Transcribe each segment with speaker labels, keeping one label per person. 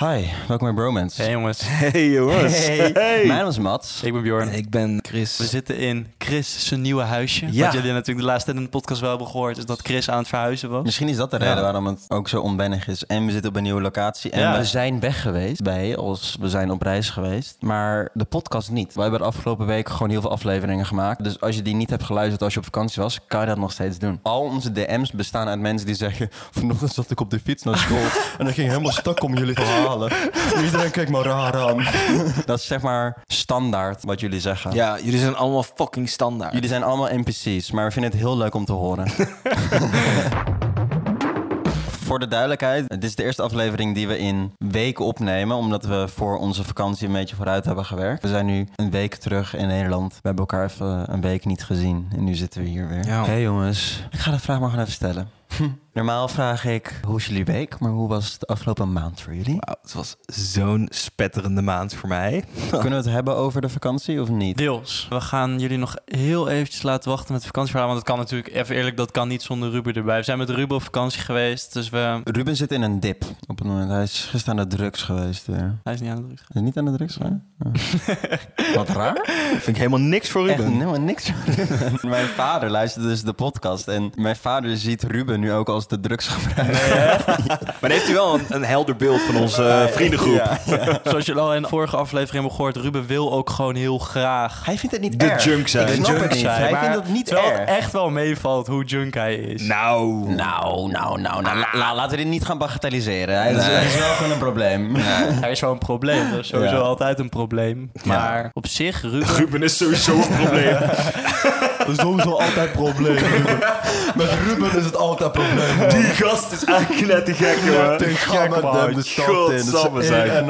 Speaker 1: Hi, welkom bij Bromance.
Speaker 2: Hey jongens,
Speaker 3: Hey jongens.
Speaker 2: Hey.
Speaker 1: Mijn naam is Mats.
Speaker 2: ik ben Bjorn.
Speaker 3: En ik ben
Speaker 2: We
Speaker 3: Chris.
Speaker 2: zitten in Chris zijn nieuwe huisje.
Speaker 3: Ja.
Speaker 2: Wat jullie natuurlijk de laatste tijd in de podcast wel hebben gehoord, is dat Chris aan het verhuizen was.
Speaker 1: Misschien is dat de reden waarom het ook zo onwennig is. En we zitten op een nieuwe locatie. En
Speaker 2: Ja.
Speaker 1: we zijn weg geweest bij, als we zijn op reis geweest. Maar de podcast niet. We hebben de afgelopen week gewoon heel veel afleveringen gemaakt. Dus als je die niet hebt geluisterd als je op vakantie was, kan je dat nog steeds doen. Al onze DM's bestaan uit mensen die zeggen... Vanochtend zat ik op de fiets naar school en dat ging helemaal stuk om jullie verhalen. En Iedereen kijkt me raar aan. dat is zeg maar standaard wat jullie zeggen.
Speaker 3: Ja, jullie zijn allemaal fucking standaard.
Speaker 1: Jullie zijn allemaal NPC's, maar we vinden het heel leuk om te horen. Voor de duidelijkheid, dit is de eerste aflevering die we in weken opnemen, omdat we voor onze vakantie een beetje vooruit hebben gewerkt. We zijn nu een week terug in Nederland. We hebben elkaar even een week niet gezien en nu zitten we hier weer.
Speaker 3: Ja.
Speaker 1: Hey jongens, ik ga de vraag maar gewoon even stellen. Hm. Normaal vraag ik, hoe is jullie week? Maar hoe was de afgelopen maand voor jullie?
Speaker 3: Wauw, het was zo'n spetterende maand voor mij.
Speaker 1: Kunnen we het hebben over de vakantie of niet?
Speaker 2: Deels. We gaan jullie nog heel eventjes laten wachten met het vakantieverhaal, want dat kan natuurlijk, even eerlijk, dat kan niet zonder Ruben erbij. We zijn met Ruben op vakantie geweest, dus we...
Speaker 1: Ruben zit in een dip op het moment. Hij is gisteren aan de drugs geweest weer.
Speaker 2: Hij is niet aan het drugs.
Speaker 1: Is het niet aan de drugs gaan? Wat raar.
Speaker 3: Vind ik helemaal niks voor
Speaker 1: Echt
Speaker 3: Ruben.
Speaker 1: helemaal niks. mijn vader luistert dus de podcast. En mijn vader ziet Ruben nu ook als de drugsgebruiker.
Speaker 3: maar dan heeft hij wel een, een helder beeld van onze eh, vriendengroep.
Speaker 1: Ja.
Speaker 2: Zoals jullie al in de vorige aflevering hebben gehoord, Ruben wil ook gewoon heel graag...
Speaker 1: Hij vindt het niet
Speaker 3: De
Speaker 1: erg.
Speaker 3: junk zijn.
Speaker 1: Ik
Speaker 3: De
Speaker 1: snap
Speaker 2: junk
Speaker 1: het niet.
Speaker 2: zijn,
Speaker 1: Hij
Speaker 2: maar
Speaker 1: vindt het niet
Speaker 2: Terwijl
Speaker 1: erg.
Speaker 2: het echt wel meevalt hoe junk hij is.
Speaker 3: Nou.
Speaker 1: Nou, nou, nou. nou. La- la- laten we dit niet gaan bagatelliseren. Het is, het is wel gewoon een probleem.
Speaker 2: Hij is wel een probleem, dat is sowieso
Speaker 1: Ja.
Speaker 2: altijd een probleem. Maar op zich, Ruben...
Speaker 3: Ruben is sowieso een probleem.
Speaker 1: Dat is sowieso altijd een probleem. Met Ruben is het altijd een probleem.
Speaker 3: Die gast is eigenlijk te gek,
Speaker 1: al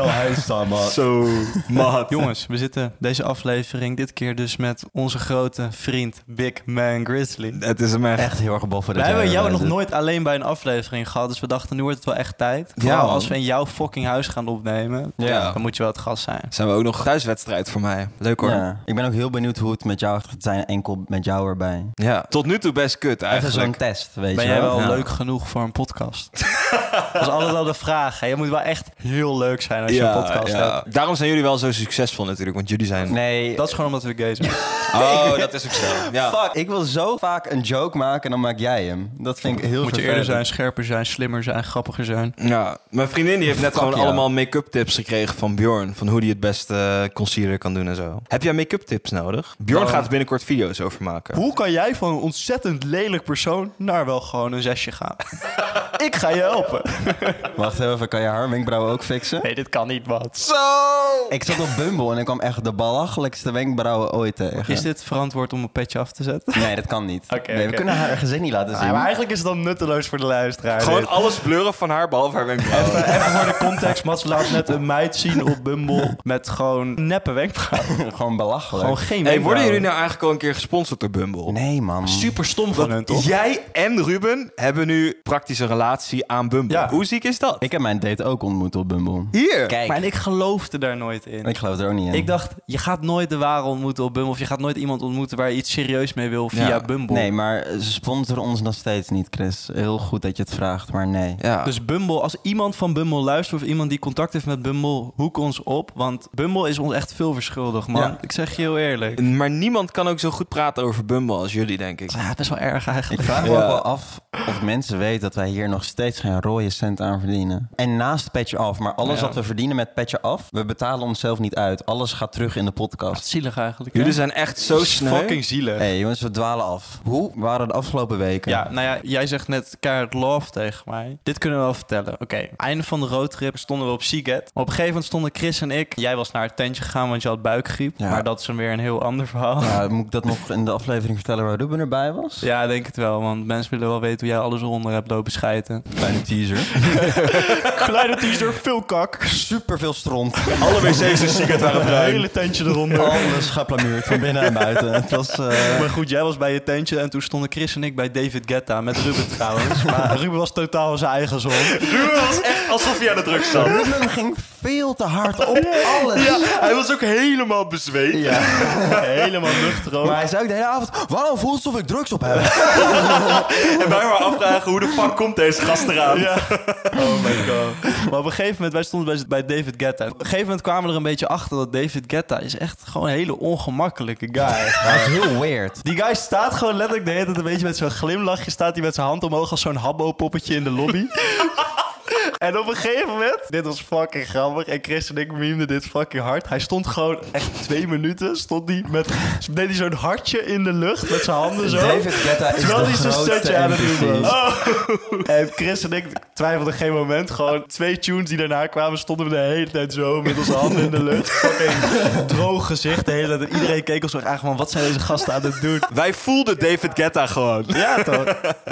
Speaker 1: hij samen.
Speaker 3: Zo, maat.
Speaker 2: Jongens, we zitten deze aflevering dit keer dus met onze grote vriend Big Man Grizzly.
Speaker 3: Het is hem echt.
Speaker 1: Echt heel erg boffen.
Speaker 2: We hebben jou nog nooit alleen bij een aflevering gehad, dus we dachten nu wordt het wel echt tijd. Vooral
Speaker 3: man.
Speaker 2: als we in jouw fucking huis gaan opnemen,
Speaker 1: Ja.
Speaker 2: dan moet je wel het gas zijn.
Speaker 3: Zijn we ook nog thuiswedstrijd voor mij. Leuk hoor. Ja.
Speaker 1: Ja. Ik ben ook heel benieuwd hoe het met jou gaat zijn, enkel met jou erbij.
Speaker 3: Tot nu toe best kut
Speaker 1: Even zo'n
Speaker 3: eigenlijk.
Speaker 1: test, weet
Speaker 2: Ben
Speaker 1: je
Speaker 2: jij
Speaker 1: wel.
Speaker 2: wel
Speaker 3: Ja.
Speaker 2: leuk genoeg voor een podcast? dat is altijd wel de vraag. Hè? Je moet wel echt heel leuk zijn als je een podcast
Speaker 3: ja.
Speaker 2: hebt.
Speaker 3: Daarom zijn jullie wel zo succesvol natuurlijk, want jullie zijn...
Speaker 1: Nee.
Speaker 2: Dat is gewoon omdat we gay zijn.
Speaker 3: Oh, dat is ook zo. Ja.
Speaker 1: Fuck, ik wil zo vaak een joke maken en dan maak jij hem. Dat vind ik heel
Speaker 2: Moet je eerder zijn, scherper zijn, slimmer zijn, grappiger zijn.
Speaker 3: Ja, mijn vriendin die heeft net
Speaker 1: Fuck
Speaker 3: gewoon
Speaker 1: ja.
Speaker 3: allemaal make-up tips gekregen van Bjorn. Van hoe die het beste eh, concealer kan doen en zo. Heb jij make-up tips nodig? Bjorn
Speaker 2: Oh.
Speaker 3: gaat er binnenkort video's over maken.
Speaker 2: Hoe kan jij van een ontzettend lelijk persoon naar wel gewoon een zesje gaan? ik ga je helpen.
Speaker 1: Wacht even, kan je haar wenkbrauwen ook fixen?
Speaker 2: Nee, dit kan niet, wat. Oh.
Speaker 3: Zo!
Speaker 1: Ik zat op Bumble en ik kwam echt de belachelijkste wenkbrauwen ooit tegen.
Speaker 2: Is dit verantwoord om een petje af te zetten?
Speaker 1: Nee, dat kan niet.
Speaker 2: Oké,
Speaker 1: nee, we
Speaker 2: oké.
Speaker 1: kunnen haar gezicht niet laten zien.
Speaker 2: Nou, maar eigenlijk is het dan nutteloos voor de luisteraar.
Speaker 3: Gewoon alles blurren van haar, behalve haar wenkbrauwen.
Speaker 2: Even voor de context, Mats laat net een meid zien op Bumble met gewoon neppe wenkbrauwen.
Speaker 1: Gewoon belachelijk.
Speaker 2: Gewoon geen
Speaker 3: hey,
Speaker 2: wenkbrauwen.
Speaker 3: worden jullie nou eigenlijk al een keer gesponsord door Bumble?
Speaker 1: Nee, man.
Speaker 2: Super stom van hun, toch?
Speaker 3: Jij en Ruben hebben nu praktisch een relatie aan Bumble.
Speaker 2: Ja.
Speaker 3: Hoe ziek is dat?
Speaker 1: Ik heb mijn date ook ontmoet op Bumble.
Speaker 3: Hier!
Speaker 1: Kijk,
Speaker 2: Maar en ik geloofde daar nooit in.
Speaker 1: ik geloof er ook niet in.
Speaker 2: Ik dacht, je gaat nooit de ware ontmoeten op Bumble. Of je gaat nooit iemand ontmoeten waar je iets serieus mee wil via
Speaker 3: Ja.
Speaker 2: Bumble.
Speaker 1: Nee, maar ze sponsoren ons nog steeds niet, Chris. Heel goed dat je het vraagt, maar nee.
Speaker 3: Ja.
Speaker 2: Dus Bumble, als iemand van Bumble luistert of iemand die contact heeft met Bumble, hoek ons op. Want Bumble is ons echt veel verschuldigd, man.
Speaker 1: Ja.
Speaker 2: Ik zeg je heel eerlijk.
Speaker 3: Maar niemand kan ook zo goed praten over Bumble als jullie, denk ik.
Speaker 2: Ja, best wel erg
Speaker 1: Ik
Speaker 2: eigenlijk.
Speaker 1: vraag me
Speaker 3: Ja.
Speaker 1: ook wel af of mensen weten dat wij hier nog steeds geen rode cent aan verdienen. En naast Petje Af, maar alles
Speaker 2: Ja.
Speaker 1: wat we verdienen met Petje Af, we betalen onszelf niet uit. Alles gaat terug in de podcast.
Speaker 2: Zielig eigenlijk. hè?
Speaker 3: Jullie zijn echt zo sneu.
Speaker 2: fucking zielig.
Speaker 1: Hé hey, jongens, we dwalen af. Hoe waren de afgelopen weken?
Speaker 2: Ja, nou ja, jij zegt net keihard love tegen mij. Dit kunnen we wel vertellen. Oké, einde van de roadtrip stonden we op Seagat. Op een gegeven moment stonden Chris en ik. Jij was naar het tentje gegaan, want je had buikgriep.
Speaker 1: Ja.
Speaker 2: Maar dat is dan weer een heel ander verhaal. Ja.
Speaker 1: Ja, moet ik dat nog in de aflevering vertellen waar Ruben erbij was?
Speaker 2: denk het wel, want mensen willen wel weten hoe jij alles eronder hebt lopen schijten.
Speaker 1: Kleine teaser.
Speaker 2: Kleine teaser, veel kak.
Speaker 1: Super veel stront.
Speaker 3: Alle wc's en sigaret waren
Speaker 2: Een
Speaker 3: bruin.
Speaker 2: hele tentje eronder.
Speaker 1: Alles geplamuurd van binnen en buiten. Het was. eh,
Speaker 2: Maar goed, jij was bij je tentje en toen stonden Chris en ik bij David Guetta. Met Ruben trouwens. Maar Ruben was totaal in zijn eigen zon.
Speaker 3: Ruben was echt alsof hij aan de druk zat.
Speaker 1: Ruben ging veel te hard op alles.
Speaker 3: hij was ook helemaal bezweet.
Speaker 1: Ja.
Speaker 2: Helemaal nuchter ook.
Speaker 1: Maar hij zei ook de hele avond, waarom voelt het alsof ik drugs op heb?
Speaker 4: En wij maar afvragen hoe de fuck komt deze gast eraan.
Speaker 2: Oh my god. Maar op een gegeven moment, wij stonden bij, bij David Guetta. Op een gegeven moment kwamen we er een beetje achter dat David Guetta is echt gewoon een hele ongemakkelijke guy.
Speaker 1: Dat is heel weird.
Speaker 2: Die guy staat gewoon letterlijk de hele tijd een beetje met zo'n glimlachje. Staat hij met zijn hand omhoog als zo'n habbo-poppetje in de lobby. En op een gegeven moment, dit was fucking grappig. En Chris en ik memeden dit fucking hard. Hij stond gewoon echt twee minuten, stond hij met, deed hij zo'n hartje in de lucht met zijn handen zo.
Speaker 1: David Guetta is
Speaker 2: Terwijl
Speaker 1: de
Speaker 2: hij zijn
Speaker 1: grootste
Speaker 2: setje aan het doen was. Oh.
Speaker 1: NPC.
Speaker 2: En Chris en ik twijfelden geen moment. Gewoon twee tunes die daarna kwamen, stonden we de hele tijd zo met onze handen in de lucht. Fucking droog gezicht de hele tijd. En Iedereen keek ons zo echt man, wat zijn deze gasten aan het doen?
Speaker 4: Wij voelden David Guetta gewoon.
Speaker 2: Ja toch?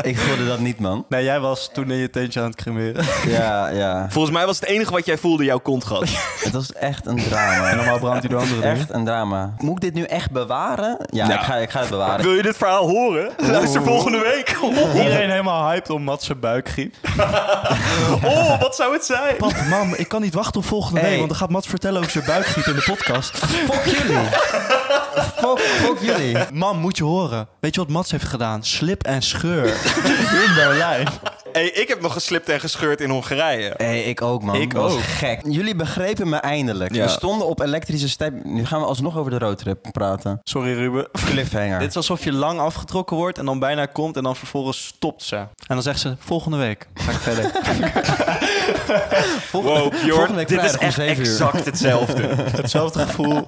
Speaker 1: Ik voelde dat niet, man.
Speaker 2: Nee, jij was toen in je tentje aan het cremeren.
Speaker 1: Ja, ja.
Speaker 4: Volgens mij was het enige wat jij voelde jouw kontgat.
Speaker 1: Het was echt een drama.
Speaker 2: Normaal brandt hij de andere Nou.
Speaker 1: Echt een drama. Moet ik dit nu echt bewaren? Ja, Ik, ga, ik ga het bewaren.
Speaker 4: Wil je dit verhaal horen? Luister volgende week.
Speaker 2: Iedereen helemaal hyped om Mats zijn buikgriep.
Speaker 4: Oh, wat zou het zijn?
Speaker 2: Pap, mam, ik kan niet wachten op volgende
Speaker 1: Hey.
Speaker 2: week, want dan gaat Mats vertellen over zijn buikgriep in de podcast.
Speaker 1: Fuck jullie. Fuck, fuck jullie.
Speaker 2: Mam, moet je horen. Weet je wat Mats heeft gedaan? Slip en scheur. in Berlijn.
Speaker 4: Hey, ik heb nog geslipt en gescheurd in Hongarije.
Speaker 1: Hé, ik ook, man.
Speaker 2: Ik
Speaker 1: Dat was
Speaker 2: ook.
Speaker 1: gek. Jullie begrepen me eindelijk.
Speaker 3: Ja.
Speaker 1: We stonden op elektrische step. Nu gaan we alsnog over de roadtrip praten.
Speaker 2: Sorry, Ruben.
Speaker 1: Cliffhanger.
Speaker 2: Dit is alsof je lang afgetrokken wordt en dan bijna komt en dan vervolgens stopt ze. En dan zegt ze, volgende week ga ik verder.
Speaker 4: Wow, Bjorn,
Speaker 1: volgende
Speaker 4: dit
Speaker 1: week
Speaker 4: is
Speaker 1: vrijdag om
Speaker 4: echt
Speaker 1: 7 uur.
Speaker 4: exact hetzelfde.
Speaker 2: Hetzelfde gevoel.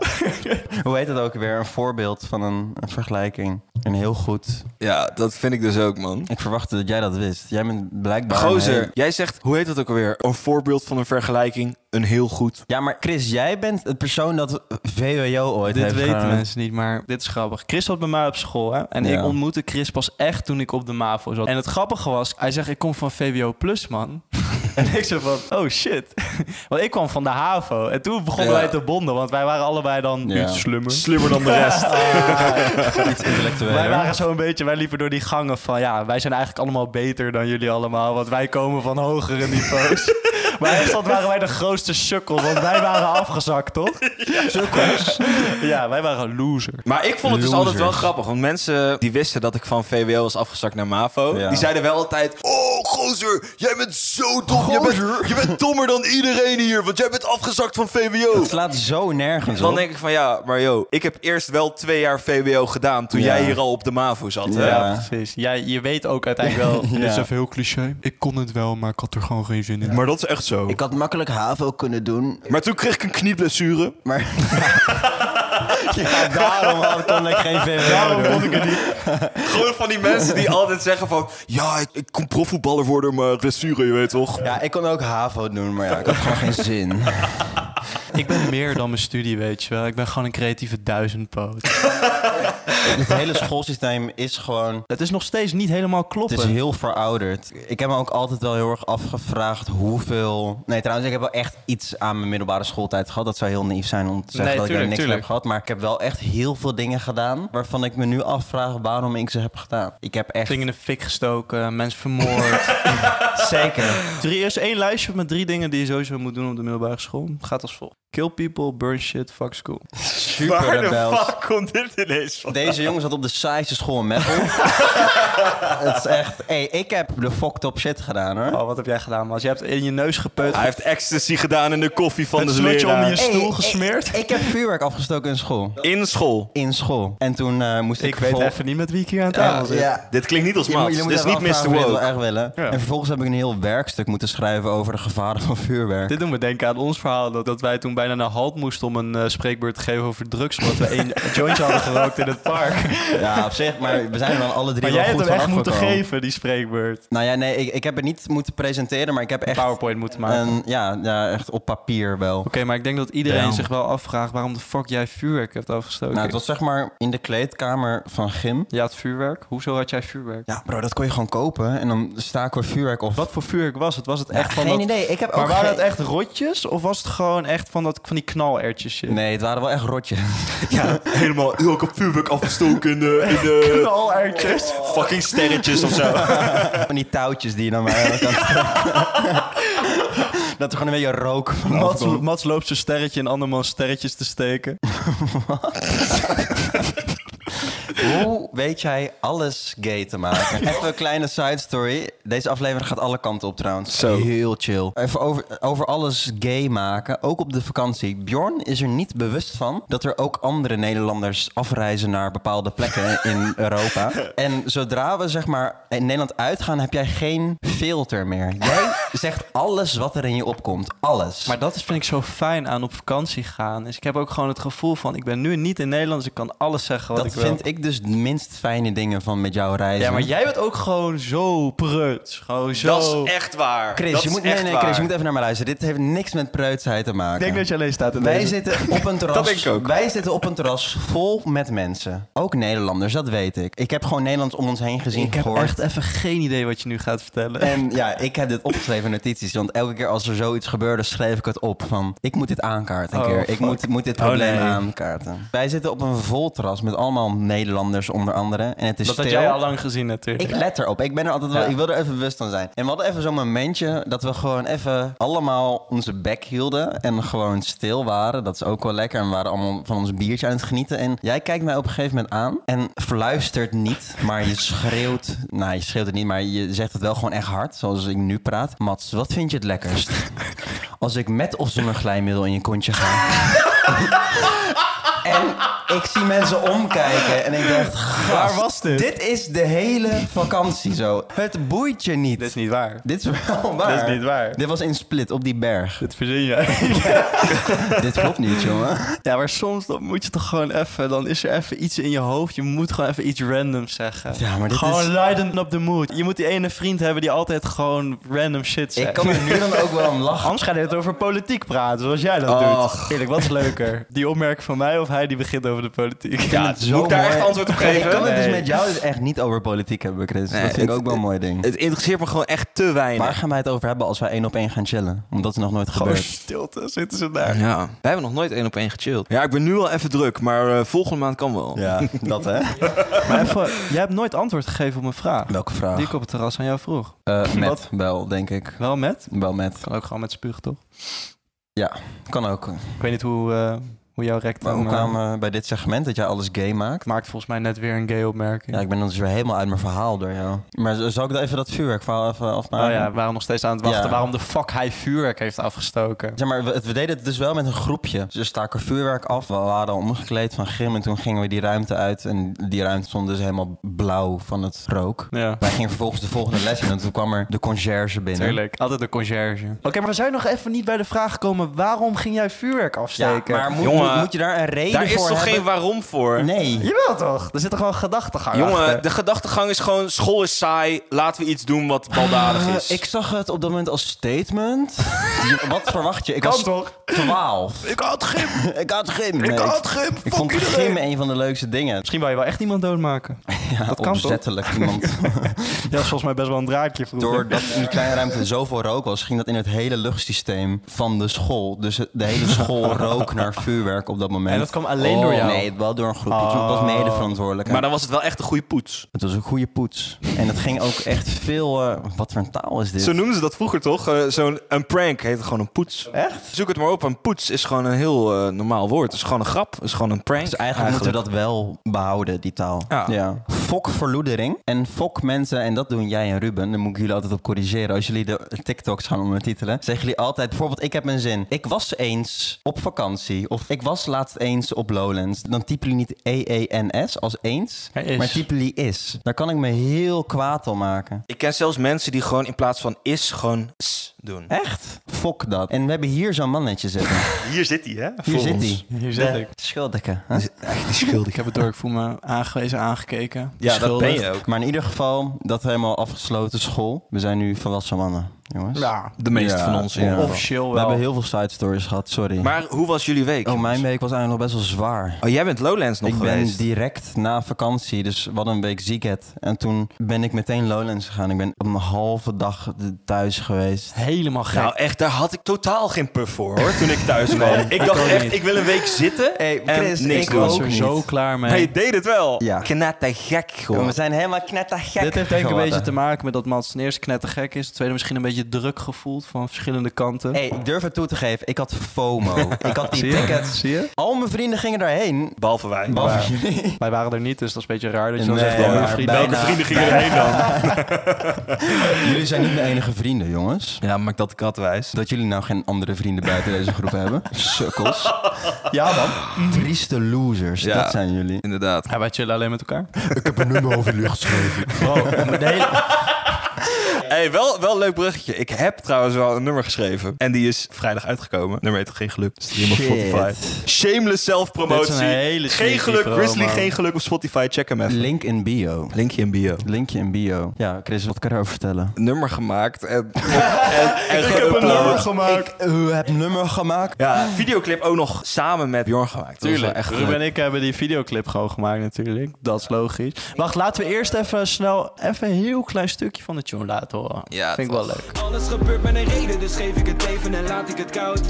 Speaker 1: Hoe heet dat ook weer? Een voorbeeld van een, een vergelijking. Een heel goed.
Speaker 3: Ja, dat vind ik dus ook, man.
Speaker 1: Ik verwachtte dat jij dat wist. Jij bent blijkbaar... een
Speaker 3: Gozer,
Speaker 1: hele-
Speaker 3: jij zegt, hoe heet dat ook alweer?
Speaker 4: Een voorbeeld van een vergelijking, een heel goed.
Speaker 1: Ja, maar Chris, jij bent het persoon dat VWO ooit
Speaker 2: dit
Speaker 1: heeft
Speaker 2: weten
Speaker 1: gedaan.
Speaker 2: mensen niet, maar dit is grappig. Chris zat bij mij op school hè? en
Speaker 1: Ja.
Speaker 2: ik ontmoette Chris pas echt toen ik op de MAVO zat. En het grappige was, hij zegt, ik kom van VWO Plus, man. en ik zei van, oh shit. want ik kwam van de HAVO. En toen begonnen
Speaker 3: Ja.
Speaker 2: wij te bonden, want wij waren allebei dan
Speaker 1: Ja.
Speaker 2: iets slimmer. Ah.
Speaker 4: Slimmer dan de rest.
Speaker 1: Iets intellectueler.
Speaker 2: Wij waren zo'n beetje, wij liepen door die gangen van ja, wij zijn eigenlijk allemaal beter dan jullie allemaal, want wij komen van hogere niveaus. maar echt dat waren wij de grootste sukkels, want wij waren afgezakt, toch? Sukkels? ja, wij waren loser.
Speaker 3: Maar ik vond het dus
Speaker 1: Losers.
Speaker 3: altijd wel grappig, want mensen die wisten dat ik van VWO was afgezakt naar MAVO,
Speaker 1: Ja.
Speaker 3: die zeiden wel altijd, oh gozer, jij bent zo dom, je bent, je bent dommer dan iedereen hier, want jij bent afgezakt van VWO.
Speaker 1: Het slaat zo nergens
Speaker 3: Dan
Speaker 1: op.
Speaker 3: denk ik van ja, maar yo, ik heb eerst wel twee jaar VWO gedaan toen
Speaker 1: Ja.
Speaker 3: jij hier al op de MAVO zat.
Speaker 1: Ja.
Speaker 3: Hè?
Speaker 2: Ja, precies. Ja, je weet ook uiteindelijk wel.
Speaker 1: Ja. Dit is even
Speaker 2: heel cliché. Ik kon het wel, maar ik had er gewoon geen zin in.
Speaker 4: Maar dat is echt zo.
Speaker 1: Ik had makkelijk HAVO kunnen doen,
Speaker 4: Maar toen kreeg ik een knieblessure.
Speaker 1: maar... ja, daarom had, kon ik geen VWO doen.
Speaker 3: Gewoon van die mensen die altijd zeggen van
Speaker 4: Ja, ik, ik kon profvoetballer worden, maar blessure, je weet toch?
Speaker 1: Ja, ik kon ook HAVO doen, maar ja, ik had gewoon geen zin.
Speaker 2: Ik ben meer dan mijn studie, weet je wel. Ik ben gewoon een creatieve duizendpoot.
Speaker 1: Het hele schoolsysteem is gewoon...
Speaker 2: Het is nog steeds niet helemaal kloppend.
Speaker 1: Het is heel verouderd. Ik heb me ook altijd wel heel erg afgevraagd hoeveel... Nee, trouwens, ik heb wel echt iets aan mijn middelbare schooltijd gehad. Dat zou heel naïef zijn om te zeggen
Speaker 2: Nee,
Speaker 1: dat ik daar
Speaker 2: tuurlijk,
Speaker 1: niks aan
Speaker 2: tuurlijk.
Speaker 1: heb gehad. Maar ik heb wel echt heel veel dingen gedaan... waarvan ik me nu afvraag waarom ik ze heb gedaan. Ik heb echt...
Speaker 2: Dingen in de fik gestoken, mensen vermoord.
Speaker 1: Zeker.
Speaker 2: drie, eerst één lijstje met drie dingen die je sowieso moet doen op de middelbare school. Gaat als volgt. Kill people, burn shit, fuck school.
Speaker 1: Super rebels.
Speaker 4: komt dit ineens van?
Speaker 1: Deze jongen zat op de saaiste school in Meppel. Het is echt... Hey, ik heb de fucked up shit gedaan, hoor.
Speaker 2: Oh, wat heb jij gedaan, Mas? Je hebt in je neus gepeut.
Speaker 4: Hij heeft ecstasy gedaan in de koffie van
Speaker 2: Met
Speaker 4: de
Speaker 2: slotje
Speaker 4: leraar.
Speaker 2: onder je
Speaker 1: Hey,
Speaker 2: stoel
Speaker 1: ik-
Speaker 2: gesmeerd.
Speaker 1: Ik, heb vuurwerk afgestoken in school.
Speaker 4: In school.
Speaker 1: In school. En toen eh, moest ik
Speaker 2: Ik weet
Speaker 1: vol-
Speaker 2: even niet met wie ik hier aan het tafel zit.
Speaker 1: Ja.
Speaker 4: Dit klinkt niet als
Speaker 1: Je moet-
Speaker 4: Mats.
Speaker 1: jullie
Speaker 4: Dit is
Speaker 1: moeten
Speaker 4: niet
Speaker 1: even
Speaker 4: Mr.
Speaker 1: afvragen of jullie dat
Speaker 4: Woke.
Speaker 1: echt willen.
Speaker 2: Ja.
Speaker 1: En vervolgens heb ik een heel werkstuk moeten schrijven over de gevaren van vuurwerk.
Speaker 2: Dit doet me denken aan ons verhaal. Dat, dat wij toen bijna naar halt moesten om een eh, spreekbeurt te geven over drugs. Omdat we één jointje hadden gerookt in het park.
Speaker 1: Ja, op zich, maar we zijn er dan alle drie
Speaker 2: Maar
Speaker 1: wel
Speaker 2: jij hebt
Speaker 1: goed
Speaker 2: hem echt
Speaker 1: van
Speaker 2: moeten
Speaker 1: afgekomen.
Speaker 2: geven, die spreekbeurt.
Speaker 1: Nou ja, nee, ik, ik heb het niet moeten presenteren, maar ik heb echt...
Speaker 2: PowerPoint moeten maken.
Speaker 1: een- ja, ja, echt op papier wel.
Speaker 2: Oké, maar ik denk dat iedereen
Speaker 1: Damn.
Speaker 2: zich wel afvraagt waarom de fuck jij vuurwerk hebt afgestoken.
Speaker 1: Nou, het was zeg maar in de kleedkamer van Gym.
Speaker 2: Ja, het vuurwerk. Hoezo had jij vuurwerk?
Speaker 1: Ja, bro, dat kon je gewoon kopen. En dan staken we vuurwerk of...
Speaker 2: Wat voor vuurwerk was het? Was het echt van
Speaker 1: geen
Speaker 2: dat...
Speaker 1: idee. Ik heb
Speaker 2: Maar
Speaker 1: ook
Speaker 2: waren
Speaker 1: geen-
Speaker 2: het echt rotjes? Of was het gewoon echt van, dat, van die knalertjes shit?
Speaker 1: Nee, het waren wel echt rotjes.
Speaker 4: Helemaal, yo, ik heb vuurwerk afgestoken in de, in de
Speaker 2: Knalertjes?
Speaker 4: fucking sterretjes of zo.
Speaker 1: Van die touwtjes die je dan maar aan kan trekken. Dat er gewoon een beetje rook van
Speaker 2: Mats,
Speaker 1: afkomt.
Speaker 2: Mats loopt zijn sterretje in andermans sterretjes te steken.
Speaker 1: Hoe weet jij alles gay te maken? Even een kleine side story. Deze aflevering gaat alle kanten op trouwens.
Speaker 2: Zo.
Speaker 1: Heel chill. Even over, over alles gay maken, ook op de vakantie. Bjorn is er niet bewust van dat er ook andere Nederlanders afreizen naar bepaalde plekken in Europa. En zodra we zeg maar in Nederland uitgaan, heb jij geen filter meer. Jij zegt alles wat er in je opkomt. Alles.
Speaker 2: Maar dat is, vind ik zo fijn aan op vakantie gaan. Dus ik heb ook gewoon het gevoel van, ik ben nu niet in Nederland, dus ik kan alles zeggen wat
Speaker 1: dat
Speaker 2: ik wil.
Speaker 1: vind ik dus de minst fijne dingen van met jou reizen.
Speaker 2: Ja, maar jij bent ook gewoon zo preuts. Gewoon zo...
Speaker 4: Dat is echt waar.
Speaker 1: Chris,
Speaker 4: dat
Speaker 1: je
Speaker 4: is
Speaker 1: moet,
Speaker 4: echt
Speaker 1: nee, nee, Chris, je
Speaker 4: waar.
Speaker 1: moet even naar me luisteren. Dit heeft niks met preutsheid te maken.
Speaker 2: Ik denk dat je alleen staat in
Speaker 1: wij
Speaker 2: deze.
Speaker 1: zitten op een terras.
Speaker 2: Dat denk ik ook.
Speaker 1: Wij zitten op een terras vol met mensen. Ook Nederlanders, dat weet ik. Ik heb gewoon Nederlands om ons heen gezien,
Speaker 2: Ik heb
Speaker 1: gehoord.
Speaker 2: echt even geen idee wat je nu gaat vertellen.
Speaker 1: En ja, ik heb dit opgeschreven in notities. Want elke keer als er zoiets gebeurde, schreef ik het op. Van, ik moet dit aankaarten een
Speaker 2: Oh,
Speaker 1: keer. Ik
Speaker 2: fuck.
Speaker 1: moet, moet dit probleem
Speaker 2: nee.
Speaker 1: aankaarten. Wij zitten op een vol terras met allemaal Nederlanders onder andere. En het is
Speaker 2: dat had
Speaker 1: stil.
Speaker 2: jij al lang gezien natuurlijk.
Speaker 1: Ik let erop. Ik ben er altijd wel.
Speaker 2: Ja.
Speaker 1: Ik wil er even bewust van zijn. En we hadden even zo'n momentje dat we gewoon even allemaal onze bek hielden en gewoon stil waren. Dat is ook wel lekker. En we waren allemaal van ons biertje aan het genieten. En jij kijkt mij op een gegeven moment aan en verluistert niet, maar je schreeuwt. Nou, je schreeuwt het niet, maar je zegt het wel gewoon echt hard, zoals ik nu praat. Mats, wat vind je het lekkerst? Als ik met of zonder glijmiddel in je kontje ga. En ik zie mensen omkijken en ik dacht,
Speaker 2: Waar
Speaker 1: gast,
Speaker 2: was dit?
Speaker 1: Dit is de hele vakantie zo. Het boeit je niet.
Speaker 2: Dit is niet waar.
Speaker 1: Dit is wel waar.
Speaker 2: Dit is niet waar.
Speaker 1: Dit was in Split, op die berg.
Speaker 2: Dit verzin jij.
Speaker 1: Dit klopt niet, jongen.
Speaker 2: ja, maar soms dan moet je toch gewoon even... Dan is er even iets in je hoofd. Je moet gewoon even iets randoms zeggen.
Speaker 1: Ja, maar dit
Speaker 2: gewoon
Speaker 1: is-
Speaker 2: leiden op de mood. Je moet die ene vriend hebben die altijd gewoon random shit zegt.
Speaker 1: Ik kan er nu dan ook wel om lachen.
Speaker 2: Anders gaat het over politiek praten, zoals jij dat doet. Eerlijk, wat is leuker? Die opmerking van mij of hij die begint over de politiek?
Speaker 1: Ja,
Speaker 4: Moet ik daar echt antwoord op
Speaker 1: Ik
Speaker 4: geven?
Speaker 1: kan het dus
Speaker 2: Nee.
Speaker 1: met jou dus echt niet over politiek hebben, Chris.
Speaker 4: Nee,
Speaker 1: dat vind ik
Speaker 4: het-
Speaker 1: ook wel een mooi ding.
Speaker 4: Het interesseert me gewoon echt te
Speaker 1: Waar
Speaker 4: weinig.
Speaker 1: gaan wij het over hebben als wij één op één gaan chillen? Omdat het nog nooit
Speaker 2: Gewoon
Speaker 1: gebeurd.
Speaker 2: stilte zitten ze daar.
Speaker 4: Ja. Wij hebben nog nooit één op één gechilled. Ja, ik ben nu al even druk, maar eh, volgende maand kan wel.
Speaker 1: Ja, dat hè?
Speaker 2: Maar even, jij hebt nooit antwoord gegeven op mijn vraag.
Speaker 1: Welke vraag?
Speaker 2: Die ik op het terras aan jou vroeg.
Speaker 1: Eh, met
Speaker 2: Wat?
Speaker 1: wel, denk ik.
Speaker 2: Wel met?
Speaker 1: Wel met.
Speaker 2: Kan ook gewoon met spugen, toch?
Speaker 1: Kan ook.
Speaker 2: Ik weet niet hoe, eh, hoe jouw
Speaker 1: Maar
Speaker 2: rectum...
Speaker 1: hoe
Speaker 2: eh,
Speaker 1: kwamen we bij dit segment dat jij alles gay maakt?
Speaker 2: maakt volgens mij net weer een gay opmerking.
Speaker 1: Ja, ik ben dan dus weer helemaal uit mijn verhaal door jou. Maar z- zal ik dan even dat vuurwerkverhaal even afmaken?
Speaker 2: Oh ja, we waren nog steeds aan het wachten
Speaker 1: Ja.
Speaker 2: waarom de fuck hij vuurwerk heeft afgestoken.
Speaker 1: Zeg maar, we, het- we deden het dus wel met een groepje. Dus we staken vuurwerk af. We waren al omgekleed van gym en toen gingen we die ruimte uit. En die ruimte stond dus helemaal blauw van het rook.
Speaker 2: Ja.
Speaker 1: Wij gingen vervolgens de volgende les in en toen kwam er de conciërge binnen.
Speaker 2: Tuurlijk, altijd de conciërge. Oké, maar we zijn nog even niet bij de vraag gekomen... waarom ging jij vuurwerk
Speaker 1: Ja,
Speaker 2: afsteken?
Speaker 1: maar moet,
Speaker 4: Jongen,
Speaker 1: moet- moet je daar een reden
Speaker 4: Daar is
Speaker 1: voor
Speaker 4: toch geen
Speaker 1: hebben?
Speaker 4: waarom voor?
Speaker 1: Nee.
Speaker 2: Jawel toch? Er zit toch wel een gedachtegang
Speaker 4: Jongen,
Speaker 2: achter?
Speaker 4: de gedachtegang is gewoon: school is saai, laten we iets doen wat baldadig
Speaker 1: Eh,
Speaker 4: is.
Speaker 1: ik zag het op dat moment als statement. Je- Wat verwacht je? Ik was
Speaker 2: toch?
Speaker 1: 12.
Speaker 4: ik had gym,
Speaker 1: Ik had gym. Nee,
Speaker 4: ik had gym.
Speaker 1: ik vond gym een van de leukste dingen.
Speaker 2: Misschien wou je wel echt iemand doodmaken.
Speaker 1: Ja,
Speaker 2: Dat kan toch?
Speaker 1: opzettelijk. Iemand,
Speaker 2: Ja, dat is volgens mij best wel een draakje vroeger.
Speaker 1: doordat in die kleine ruimte zoveel rook was, ging dat in het hele luchtsysteem van de school. Dus het- de hele school rook naar vuurwerk op dat moment. Oh,
Speaker 2: En dat kwam alleen door jou? Oh.
Speaker 1: Nee, wel door een groepje. Dus ik was mede verantwoordelijk.
Speaker 4: Maar dan was het wel echt een goede poets.
Speaker 1: het was een goede poets. En dat ging ook echt veel... eh, wat voor een taal is dit?
Speaker 4: Zo noemden ze dat vroeger toch? Eh, Zo'n een prank heette gewoon een poets. Echt? Zoek het maar op. Een poets is gewoon een heel eh, normaal woord. Het is gewoon een grap. Het is gewoon een prank.
Speaker 1: dus eigenlijk, moeten we dat wel behouden, die taal.
Speaker 4: Ja.
Speaker 1: Fok verloedering en fok mensen, en dat doen jij en Ruben, daar moet ik jullie altijd op corrigeren. Als jullie de TikToks gaan ondertitelen, zeggen jullie altijd, bijvoorbeeld ik heb een zin. Ik was eens op vakantie, of ik was laatst eens op Lowlands. Dan typen jullie niet E E-E-N-S als eens,
Speaker 2: Maar is.
Speaker 1: maar typen jullie is. Daar kan ik me heel kwaad om maken.
Speaker 4: Ik ken zelfs mensen die gewoon in plaats van is gewoon s doen.
Speaker 1: Echt? Fok dat. En we hebben hier zo'n mannetje zitten.
Speaker 4: Hier zit hij, hè?
Speaker 1: Hier zit hij.
Speaker 2: Hier zit
Speaker 1: De
Speaker 2: ik.
Speaker 1: Schuldige. hè?
Speaker 2: Ik heb het door, ik voel me aangewezen, aangekeken.
Speaker 4: Ja, dat ben je ook.
Speaker 1: Maar in ieder geval, dat helemaal afgesloten school. We zijn nu volwassen mannen, jongens.
Speaker 2: Ja.
Speaker 4: De meeste
Speaker 1: Ja,
Speaker 4: van ons.
Speaker 1: ja.
Speaker 4: Ja.
Speaker 2: Officieel wel.
Speaker 1: We hebben heel veel side stories gehad, sorry.
Speaker 4: Maar hoe was jullie week?
Speaker 1: oh, mijn week was eigenlijk nog best wel zwaar.
Speaker 4: Oh, jij bent Lowlands nog
Speaker 1: ik ben
Speaker 4: geweest.
Speaker 1: direct na vakantie, dus we hadden een week ziekheid. En toen ben ik meteen Lowlands gegaan. Ik ben op een halve dag thuis geweest.
Speaker 2: Helemaal gek.
Speaker 4: Nou, echt, daar had ik totaal geen puff voor, hoor, toen ik thuis kwam. ik dacht echt, ik wil een week zitten
Speaker 1: Hey,
Speaker 4: en
Speaker 1: Chris,
Speaker 4: niks
Speaker 1: ik
Speaker 4: doen.
Speaker 1: was
Speaker 2: was
Speaker 1: ook
Speaker 2: er
Speaker 1: niet.
Speaker 2: zo klaar mee.
Speaker 4: Maar je deed het wel.
Speaker 1: Ja.
Speaker 4: Knettergek,
Speaker 1: Jongen,
Speaker 4: gewoon.
Speaker 1: we zijn helemaal knettergek
Speaker 2: Dit heeft denk ik een
Speaker 1: geworden.
Speaker 2: beetje te maken met dat Mats ten eerste knettergek is. Ten tweede misschien een beetje beetje druk gevoeld van verschillende kanten.
Speaker 1: Hey, ik durf het toe te geven, ik had FOMO. ik had die tickets.
Speaker 2: Zie je?
Speaker 1: Al mijn vrienden gingen daarheen.
Speaker 4: Behalve wij.
Speaker 1: Behalve jullie.
Speaker 2: Wij waren er niet, dus dat is een beetje raar dat je dan
Speaker 1: Nee,
Speaker 2: zegt... oh, mijn
Speaker 1: maar
Speaker 2: vrienden-
Speaker 1: bijna.
Speaker 4: Welke vrienden gingen erheen dan?
Speaker 1: Jullie zijn niet mijn enige vrienden, jongens.
Speaker 4: Ja, maak dat katwijs.
Speaker 1: Dat jullie nou geen andere vrienden buiten deze groep hebben. Sukkels.
Speaker 2: Ja, man.
Speaker 1: Trieste losers,
Speaker 4: Ja.
Speaker 1: dat zijn jullie.
Speaker 4: Inderdaad.
Speaker 2: Ja, wij chillen alleen met elkaar.
Speaker 1: Ik heb een nummer over jullie geschreven.
Speaker 4: Hey, wel, wel een leuk bruggetje. Ik heb trouwens wel een nummer geschreven. En die is vrijdag uitgekomen. Nummer heet Geen Geluk. Dus die helemaal op
Speaker 1: Shit.
Speaker 4: Spotify. Shameless
Speaker 2: Dit
Speaker 4: self-promotie.
Speaker 2: is een hele
Speaker 4: Geen
Speaker 2: sneaky
Speaker 4: Geluk,
Speaker 2: promo.
Speaker 4: Grizzly Geen Geluk op Spotify. Check hem even.
Speaker 1: Link in bio.
Speaker 4: Linkje in bio.
Speaker 1: Linkje in bio. Ja, Chris, wat kan je erover vertellen?
Speaker 4: Een nummer gemaakt en, en, en geüpload.
Speaker 1: gemaakt. Ik eh, heb een nummer gemaakt.
Speaker 4: Ja, videoclip ook nog samen met Bjorn gemaakt. Dat is wel
Speaker 2: Tuurlijk.
Speaker 4: echt eh,
Speaker 2: Ruben
Speaker 4: leuk.
Speaker 2: en ik hebben die videoclip gewoon gemaakt natuurlijk. Dat is logisch. Wacht, laten we eerst even snel even een heel klein stukje van de tune laten horen.
Speaker 4: Ja,
Speaker 2: Vind ik wel leuk.
Speaker 5: Alles gebeurt met een reden, dus geef ik het even en laat ik het koud.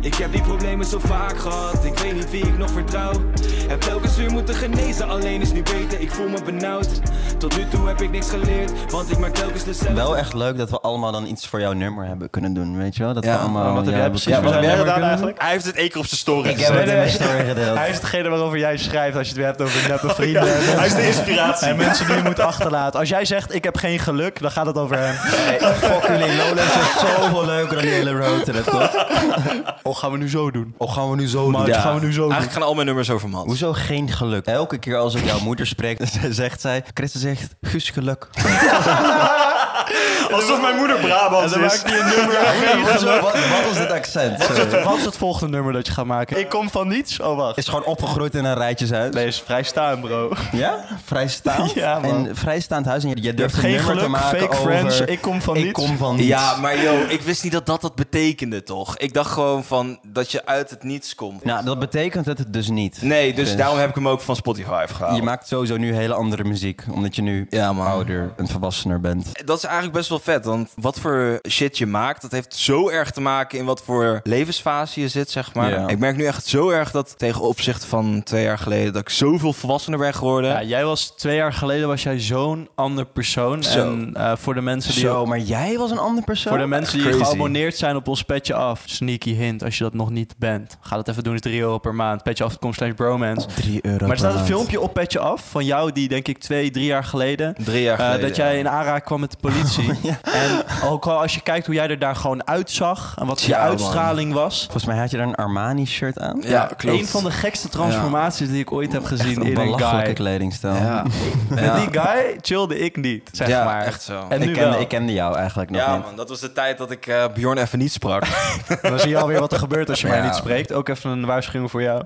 Speaker 5: Ik heb die problemen zo vaak gehad, ik weet niet wie ik nog vertrouw. Heb telkens weer moeten genezen, alleen is nu beter, ik voel me benauwd. Tot nu toe heb ik niks geleerd, want ik maak telkens dezelfde.
Speaker 1: Wel echt leuk dat we allemaal dan iets voor jouw nummer hebben kunnen doen, weet je wel? Dat
Speaker 4: Ja,
Speaker 1: we allemaal...
Speaker 2: Oh, wat heb
Speaker 1: ja,
Speaker 2: jij
Speaker 1: we-
Speaker 2: precies
Speaker 1: ja,
Speaker 2: voor
Speaker 1: wat
Speaker 2: zijn
Speaker 1: heb jij
Speaker 2: nummer
Speaker 1: gedaan
Speaker 2: kunnen doen?
Speaker 1: eigenlijk?
Speaker 4: Hij heeft het één keer op zijn story
Speaker 1: Ik heb
Speaker 4: gezet.
Speaker 1: het in mijn story gedeeld.
Speaker 2: Hij is degene waarover jij schrijft als je het weer hebt over neppe vrienden. Hij is de inspiratie. En mensen die je moet achterlaten. Als jij zegt, ik heb geen geluk, dan gaat het over hem.
Speaker 1: Hey, fuck jullie, Lowlands is zoveel leuker dan die hele roadtrip, toch?
Speaker 2: Oh, gaan we nu zo doen.
Speaker 1: Of gaan we nu zo
Speaker 2: Maar
Speaker 4: Ja.
Speaker 2: dat gaan we nu zo doen.
Speaker 4: Eigenlijk gaan al mijn nummers over Mans.
Speaker 1: Hoezo geen geluk? Elke keer als ik jouw moeder spreek, zegt zij... Christen zegt, Guus geluk.
Speaker 4: Alsof mijn moeder
Speaker 2: En
Speaker 4: Brabant
Speaker 2: dan maakt hij een nummer.
Speaker 1: Wat, wat, wat is dit accent? Sorry.
Speaker 2: Wat is het volgende nummer dat je gaat maken? Ik kom van niets. Oh, wacht.
Speaker 1: Is gewoon opgegroeid in een rijtjeshuis.
Speaker 2: Nee, is vrij staan, bro.
Speaker 1: Ja? Vrijstaand?
Speaker 2: Ja, man.
Speaker 1: en vrijstaand huis. En je, je
Speaker 2: Je hebt
Speaker 1: durft een
Speaker 2: geen
Speaker 1: nummer te
Speaker 2: geluk,
Speaker 1: maken
Speaker 2: fake
Speaker 1: over...
Speaker 2: friends, ik kom van
Speaker 1: ik
Speaker 2: niets.
Speaker 1: kom van niets.
Speaker 4: Ja, maar joh, ik wist niet dat dat dat betekende, toch? Ik dacht gewoon van dat je uit het niets komt.
Speaker 1: Nou, dat betekent het dus niet.
Speaker 4: Nee, dus
Speaker 1: Dus-
Speaker 4: daarom heb ik hem ook van Spotify afgehaald.
Speaker 1: Je maakt sowieso nu hele andere muziek. Omdat je nu
Speaker 4: Ja, man.
Speaker 1: ouder en volwassener bent.
Speaker 4: Oh, Dat is eigenlijk best wel vet, want wat voor shit je maakt, dat heeft zo erg te maken in wat voor levensfase je zit, zeg maar.
Speaker 1: Ja.
Speaker 4: Ik merk nu echt zo erg dat tegen opzicht van twee jaar geleden, dat ik zoveel volwassener ben geworden.
Speaker 2: Ja, jij was twee jaar geleden was jij zo'n ander persoon.
Speaker 4: Zo.
Speaker 2: En eh, voor de mensen die
Speaker 1: Zo, maar jij was een ander persoon?
Speaker 2: Voor de mensen die
Speaker 4: Crazy.
Speaker 2: geabonneerd zijn op ons Petje Af, sneaky hint, als je dat nog niet bent. Ga dat even doen, is 3 euro per maand. Petjeaf.com slash bromance.
Speaker 1: 3 euro
Speaker 2: Maar er staat
Speaker 1: per
Speaker 2: een
Speaker 1: maand.
Speaker 2: filmpje op Petje Af van jou die denk ik twee, drie jaar geleden...
Speaker 4: Drie jaar
Speaker 2: eh,
Speaker 4: geleden.
Speaker 2: dat jij in aanraking kwam met de politie. En ook al als je kijkt hoe jij er daar gewoon uitzag en wat je
Speaker 4: Ja, man.
Speaker 2: uitstraling was.
Speaker 1: Volgens mij had je daar een Armani-shirt aan.
Speaker 4: Ja, klopt.
Speaker 2: Een van de gekste transformaties die ik ooit heb
Speaker 1: Echt
Speaker 2: gezien
Speaker 1: een
Speaker 2: in een
Speaker 1: belachelijke
Speaker 2: guy.
Speaker 1: kledingstijl.
Speaker 4: Ja.
Speaker 2: Met
Speaker 4: Ja.
Speaker 2: die guy chillde ik niet, zeg
Speaker 4: Ja,
Speaker 2: maar.
Speaker 4: echt zo.
Speaker 2: En nu
Speaker 1: Ik kende,
Speaker 2: wel.
Speaker 1: ik kende jou eigenlijk nog
Speaker 4: Ja,
Speaker 1: niet.
Speaker 4: man, dat was de tijd dat ik eh, Bjorn even niet sprak.
Speaker 2: Dan zie je alweer wat er gebeurt als je mij
Speaker 4: Ja.
Speaker 2: niet spreekt. Ook even een waarschuwing voor jou.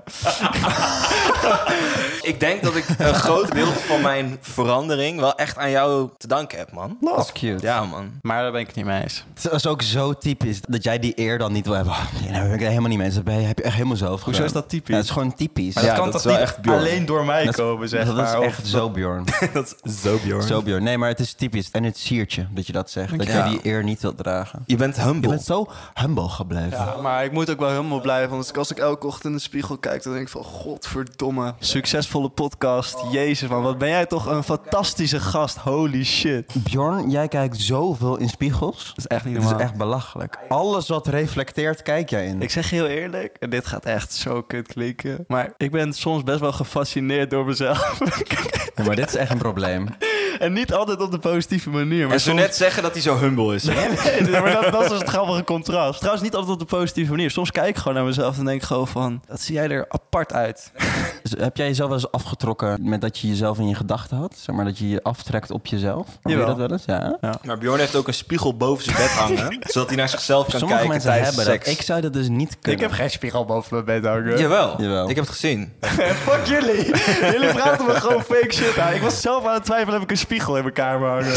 Speaker 4: ik denk dat ik een groot deel van mijn verandering wel echt aan jou te danken heb, man.
Speaker 1: Dat is cute.
Speaker 4: Ja, man.
Speaker 2: Maar daar ben ik het niet mee eens.
Speaker 1: Het is ook zo typisch dat jij die eer dan niet wil hebben. Ja, daar ben ik helemaal niet mee eens. Dat ben je- heb je echt helemaal zelf gedaan.
Speaker 2: Hoezo is dat typisch?
Speaker 1: Ja, het is gewoon typisch.
Speaker 4: Maar Ja, dat is wel
Speaker 2: niet
Speaker 4: echt Bjorn.
Speaker 2: alleen door mij
Speaker 1: Dat-
Speaker 2: komen, zeg
Speaker 1: dat
Speaker 2: maar.
Speaker 1: is
Speaker 2: of-
Speaker 1: echt zo Bjorn.
Speaker 4: dat is zo Bjorn.
Speaker 1: zo Bjorn. Nee, maar het is typisch. En het siert je dat je dat zegt. Dat
Speaker 4: je.
Speaker 1: jij
Speaker 4: Ja.
Speaker 1: die eer niet wilt dragen.
Speaker 4: Je bent humble.
Speaker 1: Je bent zo humble gebleven.
Speaker 6: Maar ik moet ook wel helemaal blij van. Dus als ik elke ochtend in de spiegel kijk, dan denk ik van... Godverdomme. Oh.
Speaker 2: Succesvolle podcast. Jezus man, wat ben jij toch een fantastische gast. Holy shit. Dat
Speaker 1: Bjorn, jij kijkt zoveel in spiegels.
Speaker 2: is echt niet
Speaker 1: Het is echt belachelijk. Alles wat reflecteert, kijk jij in.
Speaker 2: Ik zeg je heel eerlijk, en dit gaat echt zo kut klinken. Maar ik ben soms best wel gefascineerd door mezelf.
Speaker 1: Ja, maar dit is echt een probleem.
Speaker 2: en niet altijd op de positieve manier. Maar
Speaker 4: En zo net zeggen dat hij zo humble is.
Speaker 2: Nee, maar dat, dat is het grappige contrast. Trouwens, niet altijd op de positieve manier. Soms kijk ik gewoon naar mezelf en denk ik gewoon van... Dat zie jij er apart uit.
Speaker 1: Dus heb jij jezelf wel eens afgetrokken met dat je jezelf in je gedachten had? Zeg maar dat je je aftrekt op jezelf? Heb je
Speaker 2: Jawel.
Speaker 1: dat wel eens? Ja.
Speaker 4: Maar Bjorn heeft ook een spiegel boven zijn bed hangen. zodat hij naar zichzelf kan
Speaker 1: Sommige
Speaker 4: kijken
Speaker 1: mensen
Speaker 4: tijdens
Speaker 1: hebben
Speaker 4: seks.
Speaker 1: dat. Ik zou dat dus niet kunnen.
Speaker 2: geen spiegel boven mijn bed hangen.
Speaker 4: Jawel.
Speaker 1: Jawel.
Speaker 4: ik heb het gezien.
Speaker 2: Fuck jullie. Jullie praten me gewoon fake shit aan. Ik was zelf aan het twijfelen, heb ik een spiegel in mijn kamer hangen.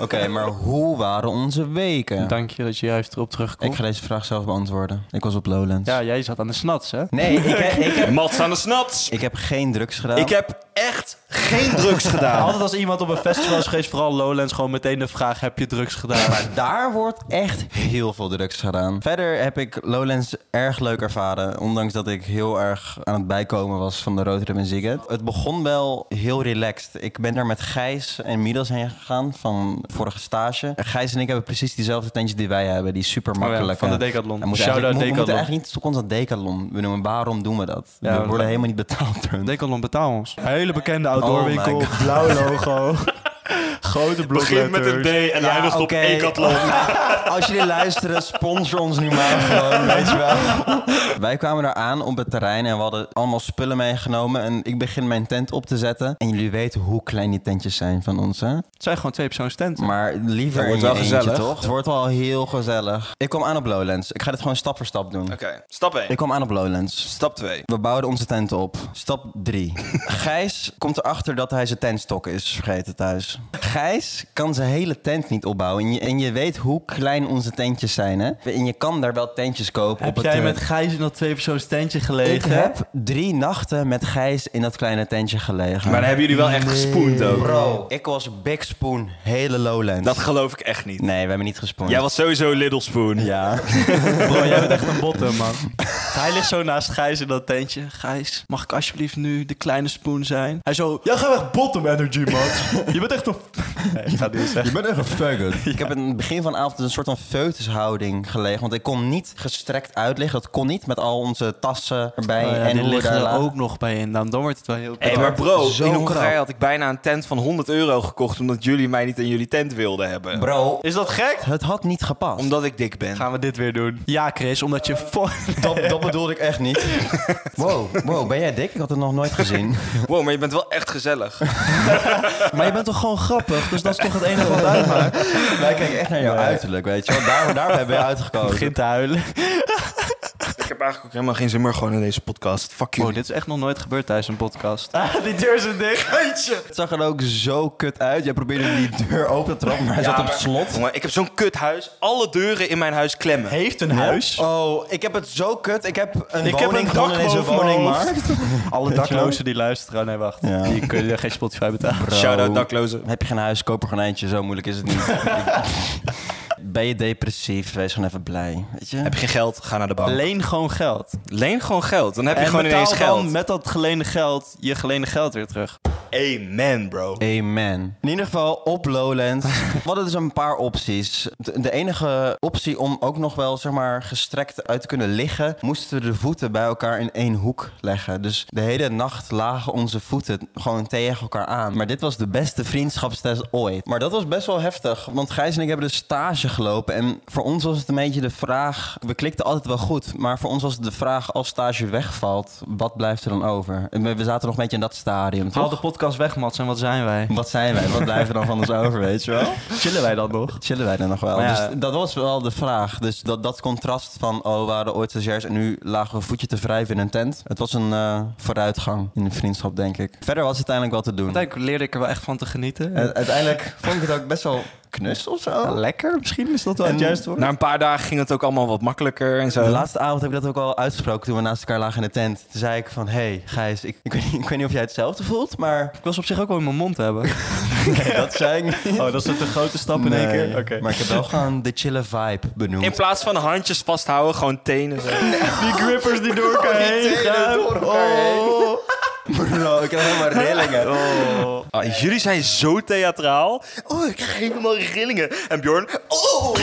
Speaker 1: Oké, maar hoe waren onze weken?
Speaker 2: Dank je dat je juist erop terugkomt.
Speaker 1: Ik ga deze vraag zelf beantwoorden. Ik was op Lowlands.
Speaker 2: Ja, jij zat aan de snats, hè?
Speaker 1: Nee, ik, ik, heb,
Speaker 4: Mats aan de snats.
Speaker 1: ik heb geen drugs gedaan.
Speaker 4: Ik heb echt geen drugs gedaan.
Speaker 2: Altijd als iemand op een festival is geweest, vooral Lowlands, gewoon meteen de vraag: heb je drugs gedaan?
Speaker 1: Daar wordt echt heel veel drugs gedaan. Verder heb ik Lowlands erg leuk ervaren. Ondanks dat ik heel erg aan het bijkomen was van de Rotterdam en Zigget. Het begon wel heel relaxed. Ik ben daar met Gijs en Midas heen gegaan van vorige stage. En Gijs en ik hebben precies diezelfde tentjes die wij hebben. Die super makkelijk.
Speaker 2: Oh van de Decathlon.
Speaker 1: We moeten
Speaker 2: Shout-out
Speaker 1: eigenlijk, we moeten
Speaker 2: Decathlon.
Speaker 1: eigenlijk niet constant Decathlon benoemen. Waarom doen we dat?
Speaker 2: Ja,
Speaker 1: we worden
Speaker 2: dat-
Speaker 1: helemaal niet betaald door hun.
Speaker 2: Decathlon betaal ons. Hele bekende
Speaker 1: Oh my
Speaker 2: outdoorwinkel,
Speaker 1: God.
Speaker 2: blauw logo. Grote
Speaker 3: Begint met
Speaker 2: blokletters.
Speaker 3: een D en
Speaker 1: Ja,
Speaker 3: eindigt
Speaker 1: oké.
Speaker 3: op Ecathlon.
Speaker 1: Als jullie luisteren, sponsor ons nu maar gewoon, weet je wel. Wij kwamen daar aan op het terrein en we hadden allemaal spullen meegenomen. En ik begin mijn tent op te zetten. En jullie weten hoe klein die tentjes zijn van ons, hè?
Speaker 2: Het zijn gewoon twee persoons tenten.
Speaker 1: Maar liever
Speaker 4: Het wordt
Speaker 1: in je
Speaker 4: wel
Speaker 1: eentje,
Speaker 4: gezellig.
Speaker 1: toch? Het wordt wel heel gezellig. Ik kom aan op Lowlands. Ik ga dit gewoon stap voor stap doen.
Speaker 4: Oké, stap 1.
Speaker 1: Ik kom aan op Lowlands.
Speaker 4: Stap 2.
Speaker 1: We bouwden onze tent op. Stap 3. Gijs komt erachter dat hij zijn tentstok is vergeten thuis. Gijs kan zijn hele tent niet opbouwen. En je, en je weet hoe klein onze tentjes zijn, hè? En je kan daar wel tentjes kopen.
Speaker 2: Heb
Speaker 1: op
Speaker 2: jij
Speaker 1: het, eh,
Speaker 2: met Gijs in dat twee persoons tentje
Speaker 1: Ik
Speaker 2: gelegen?
Speaker 1: heb drie nachten met Gijs in dat kleine tentje gelegen.
Speaker 4: Maar dan hebben jullie wel echt gespoend ook.
Speaker 1: Bro, ik was Big Spoon, hele Lowlands.
Speaker 4: Dat geloof ik echt niet.
Speaker 1: Nee, we hebben niet gespoond.
Speaker 4: Jij was sowieso Little Spoon.
Speaker 1: Ja.
Speaker 2: Bro, jij bent echt een botte, man. Hij ligt zo naast Gijs in dat tentje. Gijs, mag ik alsjeblieft nu de kleine spoen zijn? Hij zo, jij gaat weg bottom energy, man. Je bent echt een... Nee, ik ga het niet
Speaker 4: dus.
Speaker 2: zeggen.
Speaker 1: Je bent echt een faggot. Ik heb in het begin van de avond een soort van feutushouding gelegen. Want ik kon niet gestrekt uitliggen. Dat kon niet met al onze tassen erbij.
Speaker 2: Oh ja,
Speaker 1: en
Speaker 2: die
Speaker 1: hoe we
Speaker 2: liggen
Speaker 1: daar
Speaker 2: er
Speaker 1: lagen.
Speaker 2: ook nog bij in. Nou, Dan, dan wordt het wel heel...
Speaker 4: Hé, maar bro,
Speaker 1: Zo
Speaker 4: in Hongarije
Speaker 1: krap.
Speaker 4: had ik bijna een tent van 100 euro gekocht... omdat jullie mij niet in jullie tent wilden hebben.
Speaker 1: Bro,
Speaker 2: Is dat gek?
Speaker 1: het had niet gepast.
Speaker 4: Omdat ik dik ben.
Speaker 2: Gaan we dit weer doen? Ja, Chris, omdat je... vo-
Speaker 1: dat, dat bedoelde ik echt niet. Wow, wow, ben jij dik? Ik had het nog nooit gezien.
Speaker 4: Wow, maar je bent wel echt gezellig.
Speaker 2: maar je bent toch gewoon grappig? Dus dat is toch het enige wat uitmaakt?
Speaker 1: Wij kijken echt naar jouw uiterlijk, weet je wel. Daar, daar hebben we uitgekomen.
Speaker 2: Begint te huilen.
Speaker 4: ik heb eigenlijk ook helemaal geen zin meer gewoon in deze podcast. Fuck
Speaker 2: Wow,
Speaker 4: you.
Speaker 2: dit is echt nog nooit gebeurd tijdens een podcast. Ah, die deur is dicht.
Speaker 1: Het zag er ook zo kut uit. Jij probeerde die deur open te trappen, maar hij zat op slot.
Speaker 4: Jongen, ik heb zo'n kut huis. Alle deuren in mijn huis klemmen.
Speaker 2: Heeft een huis.
Speaker 1: Oh, ik heb het zo kut. Ik heb een
Speaker 2: Ik heb
Speaker 1: woning
Speaker 2: een
Speaker 1: gewonnen
Speaker 2: dak
Speaker 1: in deze
Speaker 2: boven mijn
Speaker 1: woningmarkt.
Speaker 2: Alle daklozen die luisteren. Oh, Nee, wacht.
Speaker 1: Ja.
Speaker 2: Die kunnen geen Spotify betalen.
Speaker 4: Shout-out daklozen.
Speaker 1: Heb je geen huis, koop er gewoon eentje. Zo moeilijk is het niet. ben je depressief, wees gewoon even blij. Weet je?
Speaker 4: Heb je geen geld, ga naar de bank.
Speaker 2: Leen gewoon geld.
Speaker 4: Leen gewoon geld. Dan heb je
Speaker 2: en
Speaker 4: gewoon
Speaker 2: betaal
Speaker 4: ineens geld.
Speaker 2: dan met dat geleende geld je geleende geld weer terug.
Speaker 4: Amen, bro.
Speaker 1: Amen. In ieder geval op Lowlands. We hadden dus een paar opties. De, de enige optie om ook nog wel zeg maar, gestrekt uit te kunnen liggen, moesten we de voeten bij elkaar in één hoek leggen. Dus de hele nacht lagen onze voeten gewoon tegen elkaar aan. Maar dit was de beste vriendschapstest ooit. Maar dat was best wel heftig, want Gijs en ik hebben dus stage gelopen. En voor ons was het een beetje de vraag, we klikten altijd wel goed, maar voor ons was het de vraag als stage wegvalt, wat blijft er dan over? En we we zaten nog een beetje in dat stadium, toch?
Speaker 2: Haal de podcast weg, Mats, en wat zijn wij?
Speaker 1: Wat zijn wij? Wat blijven dan van ons over, weet je wel?
Speaker 2: Chillen wij dan nog?
Speaker 1: Chillen wij dan nog wel?
Speaker 2: Maar ja.
Speaker 1: Dus dat was wel de vraag. Dus dat, dat contrast van, oh, we hadden ooit stagiairs en nu lagen we voetje te wrijven in een tent. Het was een eh, vooruitgang in de vriendschap, denk ik. Verder was het uiteindelijk wel te doen.
Speaker 2: Uiteindelijk leerde ik er wel echt van te genieten.
Speaker 1: U- Uiteindelijk vond ik het ook best wel knus of zo.
Speaker 2: lekker, misschien is dat wel
Speaker 1: En- Nou,
Speaker 4: Na een paar dagen ging het ook allemaal wat makkelijker en zo.
Speaker 1: De laatste avond heb ik dat ook al uitgesproken toen we naast elkaar lagen in de tent. Toen zei ik van, hey, Gijs, ik, ik, weet niet, ik weet niet of jij hetzelfde voelt, maar
Speaker 2: Ik was op zich ook wel in mijn mond hebben.
Speaker 1: Nee, dat zei ik niet.
Speaker 2: Oh, dat is een te grote stap in één
Speaker 1: Nee.
Speaker 2: keer? Oké.
Speaker 1: Maar ik heb wel gewoon de chille vibe benoemd.
Speaker 4: In plaats van handjes vasthouden, gewoon tenen. Zo.
Speaker 2: Die grippers Oh, die door elkaar heen gaan. Oh.
Speaker 1: Bro, ik heb helemaal rillingen.
Speaker 4: Ah, jullie zijn zo theatraal. Oh, ik krijg helemaal rillingen. En Bjorn, oh!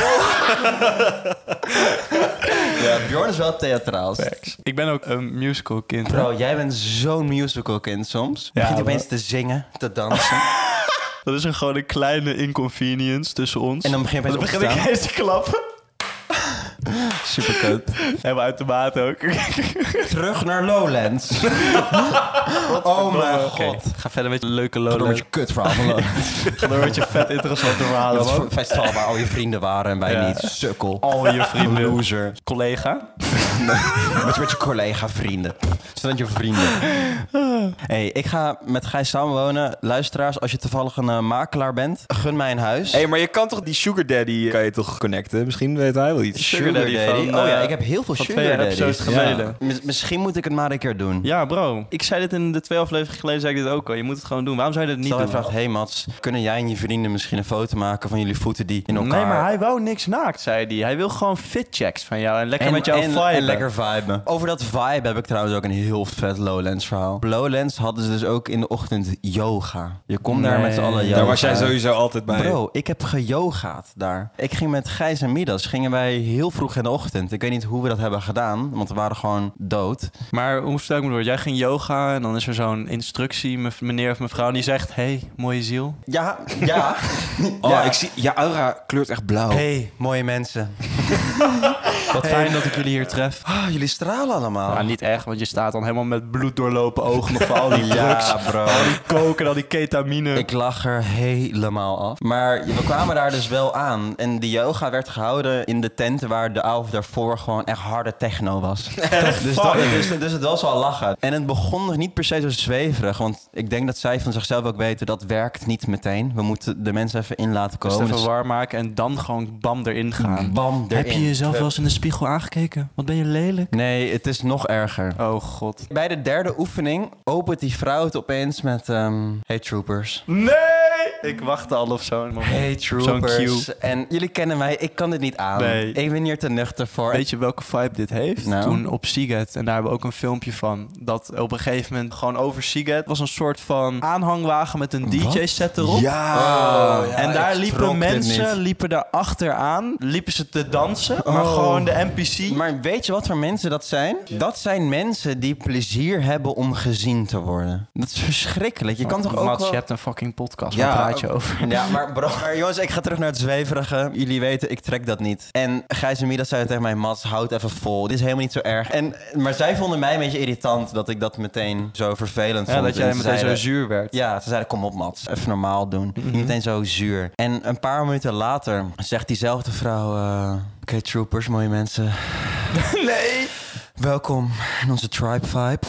Speaker 1: Ja, Bjorn is wel theatraal.
Speaker 2: Ik ben ook een musical kind.
Speaker 1: Bro, jij bent zo'n musical kind soms. Je begint opeens te zingen, te dansen.
Speaker 2: Dat is een, gewoon een kleine inconvenience tussen ons.
Speaker 1: en dan begin je
Speaker 2: dan
Speaker 1: opeens op te
Speaker 2: begin ik
Speaker 1: staan.
Speaker 2: eens te klappen.
Speaker 1: Super kut.
Speaker 2: Helemaal uit de maat ook.
Speaker 1: Terug naar Lowlands. oh mijn god.
Speaker 2: Ga verder met je leuke
Speaker 1: Door met
Speaker 2: lolo.
Speaker 1: je kut verhaal van Lowlands.
Speaker 2: Ga door met je vet interessante verhalen,
Speaker 1: Dat is
Speaker 2: man.
Speaker 1: voor een festival waar al je vrienden waren en wij
Speaker 2: Ja.
Speaker 1: niet. Sukkel.
Speaker 2: Al je vrienden.
Speaker 1: Loser.
Speaker 2: Collega.
Speaker 1: Met, je- met je collega vrienden. Zodat je vrienden. hey, ik ga met Gijs samenwonen. Luisteraars, als je toevallig een eh, makelaar bent, gun mij een huis.
Speaker 4: eh, Hé, maar je kan toch die sugar daddy... Kan je toch connecten? Misschien weet hij wel iets.
Speaker 1: Sugar Sugar Daddy.
Speaker 2: van,
Speaker 1: oh ja,
Speaker 2: eh,
Speaker 1: ik heb heel veel
Speaker 2: van
Speaker 1: Sugar
Speaker 2: twee
Speaker 1: Daddies.
Speaker 2: episodes geleden.
Speaker 1: Ja. Mis- misschien moet ik het maar een keer doen.
Speaker 2: Ja, bro. Ik zei dit in de twee afleveringen geleden, zei ik dit ook al. Je moet het gewoon doen. Waarom zou je dit niet
Speaker 1: Stel hij
Speaker 2: doen?
Speaker 1: vraagt, hey Mats, kunnen jij en je vrienden misschien een foto maken van jullie voeten die in elkaar...
Speaker 2: Nee, maar hij wou niks naakt, zei hij. Hij wil gewoon fitchecks van jou en lekker
Speaker 1: en,
Speaker 2: met jou
Speaker 1: en,
Speaker 2: viben.
Speaker 1: en lekker viben. Over dat vibe heb ik trouwens ook een heel vet Lowlands verhaal. Op Lowlands hadden ze dus ook in de ochtend yoga. Je komt daar
Speaker 2: Nee.
Speaker 1: met z'n allen yoga.
Speaker 4: Daar was jij sowieso altijd bij.
Speaker 1: Bro, ik heb geyogaat daar. Ik ging met Gijs en Midas, gingen wij heel vroeg in de ochtend. Ik weet niet hoe we dat hebben gedaan, want we waren gewoon dood.
Speaker 2: Maar hoe stel ik me voor? Jij ging yoga en dan is er zo'n instructie, mev- meneer of mevrouw, en die zegt... hey, mooie ziel.
Speaker 1: Ja, ja.
Speaker 4: Oh,
Speaker 1: Ja.
Speaker 4: ik zie, je aura kleurt echt blauw.
Speaker 1: hey, mooie mensen.
Speaker 2: Wat fijn dat ik jullie hier tref.
Speaker 1: Ah, jullie stralen allemaal.
Speaker 2: Maar niet echt, want je staat dan helemaal met bloed doorlopen ogen nog van al die drugs.
Speaker 1: ja, bro.
Speaker 2: Koken, al die ketamine.
Speaker 1: Ik lag er helemaal af. Maar we kwamen daar dus wel aan. En die yoga werd gehouden in de tent waar de avond daarvoor gewoon echt harde techno was. dus, dat, dus, dus het was wel lachen. En het begon nog niet per se zo zweverig. Want ik denk dat zij van zichzelf ook weten, dat werkt niet meteen. We moeten de mensen even in laten
Speaker 2: Dus
Speaker 1: komen.
Speaker 2: even warm maken en dan gewoon bam erin gaan.
Speaker 1: Dus bam,
Speaker 2: Heb je
Speaker 1: erin.
Speaker 2: jezelf wel eens in de spiegel aangekeken? Wat ben je lelijk?
Speaker 1: Nee, het is nog erger.
Speaker 2: Oh god.
Speaker 1: Bij de derde oefening opent die vrouw het opeens met... ehm, hey troopers.
Speaker 2: Nee! Ik wachtte al op zo'n moment.
Speaker 1: Hey
Speaker 2: Zo'n
Speaker 1: troopers. En jullie kennen mij, ik kan dit niet aan.
Speaker 2: Nee.
Speaker 1: Ik ben hier te nuchter voor.
Speaker 2: Weet je welke vibe dit heeft?
Speaker 1: Nou.
Speaker 2: Toen op Seagate, en daar hebben we ook een filmpje van, dat op een gegeven moment gewoon over Seagate was een soort van aanhangwagen met een DJ-set erop.
Speaker 4: Ja.
Speaker 1: Oh, ja,
Speaker 2: en daar
Speaker 1: ik
Speaker 2: liepen
Speaker 1: trok dit
Speaker 2: mensen,
Speaker 1: niet.
Speaker 2: liepen daar achteraan, liepen ze te dansen, maar gewoon de NPC.
Speaker 1: Oh. Maar weet je wat voor mensen dat zijn? Dat zijn mensen die plezier hebben om gezien te worden. Dat is verschrikkelijk. Je kan toch ook
Speaker 2: Mats,
Speaker 1: wel-
Speaker 2: je hebt een fucking podcast,
Speaker 1: Ja.
Speaker 2: waar praat je over?
Speaker 1: Ja, maar bro, maar jongens, ik ga terug naar het zweverige. Jullie weten, ik trek dat niet. En Gijs en Midas zeiden tegen mij, Mats, houd even vol. Dit is helemaal niet zo erg. En, maar zij vonden mij een beetje irritant dat ik dat meteen zo vervelend
Speaker 2: Ja,
Speaker 1: vond.
Speaker 2: dat
Speaker 1: En
Speaker 2: jij
Speaker 1: ze
Speaker 2: meteen zo
Speaker 1: zeiden-
Speaker 2: zuur werd.
Speaker 1: Ja, ze zeiden, kom op Mats, even normaal doen. Niet Meteen zo zuur. En een paar minuten later zegt diezelfde vrouw... eh, Oké, troopers, mooie mensen.
Speaker 2: Nee!
Speaker 1: Welkom in onze Tribe Vibe.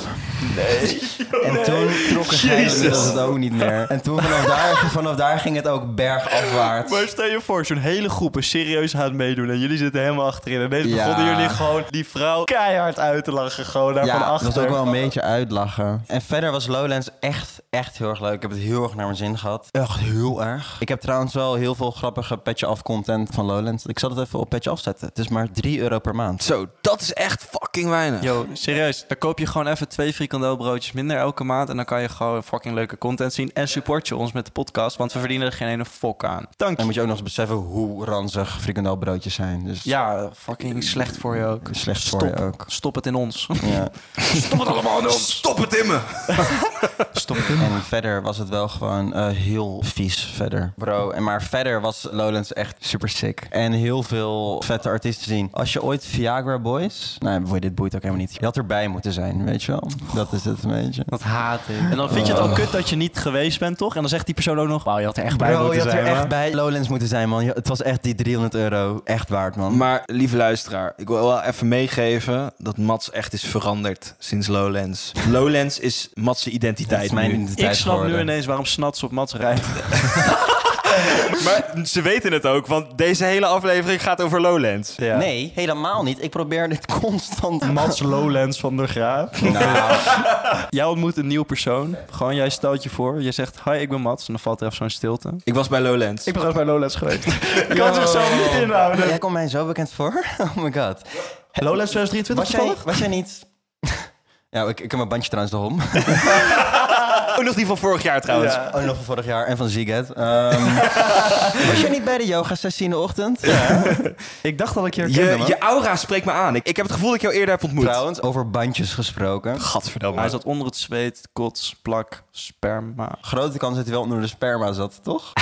Speaker 1: Nee. En toen trokken Gijs en Midas het ook niet meer. En toen vanaf daar, vanaf daar ging het ook bergafwaarts.
Speaker 2: Maar stel je voor, zo'n hele groep is serieus aan het meedoen en jullie zitten helemaal achterin. En ineens
Speaker 1: Ja.
Speaker 2: begonnen jullie gewoon die vrouw keihard uit te lachen, gewoon daar van
Speaker 1: Ja, dat
Speaker 2: achter.
Speaker 1: was ook wel een beetje uitlachen. En verder was Lowlands echt, echt heel erg leuk. Ik heb het heel erg naar mijn zin gehad. Echt heel erg. Ik heb trouwens wel heel veel grappige petje af content van Lowlands. Ik zal het even op petje afzetten. Het is maar 3 euro per maand.
Speaker 4: Zo, dat is echt fucking weinig.
Speaker 2: Yo, serieus, dan koop je gewoon even twee frikandelbroodjes minder elke maand. En dan kan je gewoon fucking leuke content zien. En support je ons met de podcast, want we verdienen er geen ene fok aan. Dank
Speaker 1: Dan
Speaker 2: je.
Speaker 1: moet je ook nog eens beseffen hoe ranzig frikandelbroodjes zijn. Dus
Speaker 2: Ja, fucking slecht voor je ook.
Speaker 1: slecht
Speaker 2: Stop.
Speaker 1: voor je ook.
Speaker 2: Stop het in ons.
Speaker 1: Ja.
Speaker 4: Stop het allemaal Stop het in me.
Speaker 2: Stop
Speaker 1: En verder was het wel gewoon eh, heel vies verder. Bro, en maar verder was Lowlands echt super sick. En heel veel vette artiesten zien. Als je ooit Viagra Boys... Nee, boy, dit boeit ook helemaal niet. Je had erbij moeten zijn, weet je wel? Dat is het een beetje.
Speaker 2: Dat haat ik. En dan vind je het al kut dat je niet geweest bent, toch? En dan zegt die persoon ook nog... Wauw, je had er echt bij
Speaker 1: Bro, je
Speaker 2: moeten
Speaker 1: had
Speaker 2: zijn.
Speaker 1: er echt
Speaker 2: man."
Speaker 1: bij Lowlands moeten zijn, man. Je- Het was echt die 300 euro echt waard, man.
Speaker 4: Maar lieve luisteraar, ik wil wel even meegeven dat Mats echt is veranderd sinds Lowlands. Lowlands is Mats'
Speaker 1: Dat is
Speaker 4: identiteit
Speaker 1: mijn
Speaker 4: nu.
Speaker 1: identiteit
Speaker 2: Ik snap nu
Speaker 1: geworden.
Speaker 2: ineens waarom Snats op Mats rijdt.
Speaker 4: Maar ze weten het ook, want deze hele aflevering gaat over Lowlands.
Speaker 2: Ja.
Speaker 1: Nee, helemaal niet. Ik probeer dit constant... Nou,
Speaker 2: Mats Lowlands van der Graaf. Jij ontmoet een nieuw persoon. Gewoon, jij stelt je voor. Je zegt, hi, ik ben Mats. En dan valt er even zo'n stilte.
Speaker 4: Ik was bij Lowlands.
Speaker 2: ben ook bij Lowlands geweest. Ik kan zichzelf niet inhouden.
Speaker 1: Jij komt mij zo bekend voor? Oh my god.
Speaker 2: Lowlands 2023
Speaker 1: Was jij,
Speaker 2: toevallig?
Speaker 1: was jij niet... Ja, ik, ik heb mijn bandje trouwens erom.
Speaker 4: Ook Oh, nog die van vorig jaar trouwens.
Speaker 2: Ja.
Speaker 1: Oh, nog van vorig jaar en van Ziget. was jij niet bij de yoga sessie in de ochtend?
Speaker 2: Ik dacht dat ik je herkende,
Speaker 4: Je,
Speaker 2: man.
Speaker 4: je aura spreekt me aan. Ik, ik heb het gevoel dat ik jou eerder heb ontmoet.
Speaker 1: Trouwens, over bandjes gesproken.
Speaker 4: Gadverdamme.
Speaker 2: Hij zat onder het zweet, kots, plak, sperma.
Speaker 1: Grote kans dat hij wel onder de sperma zat, toch?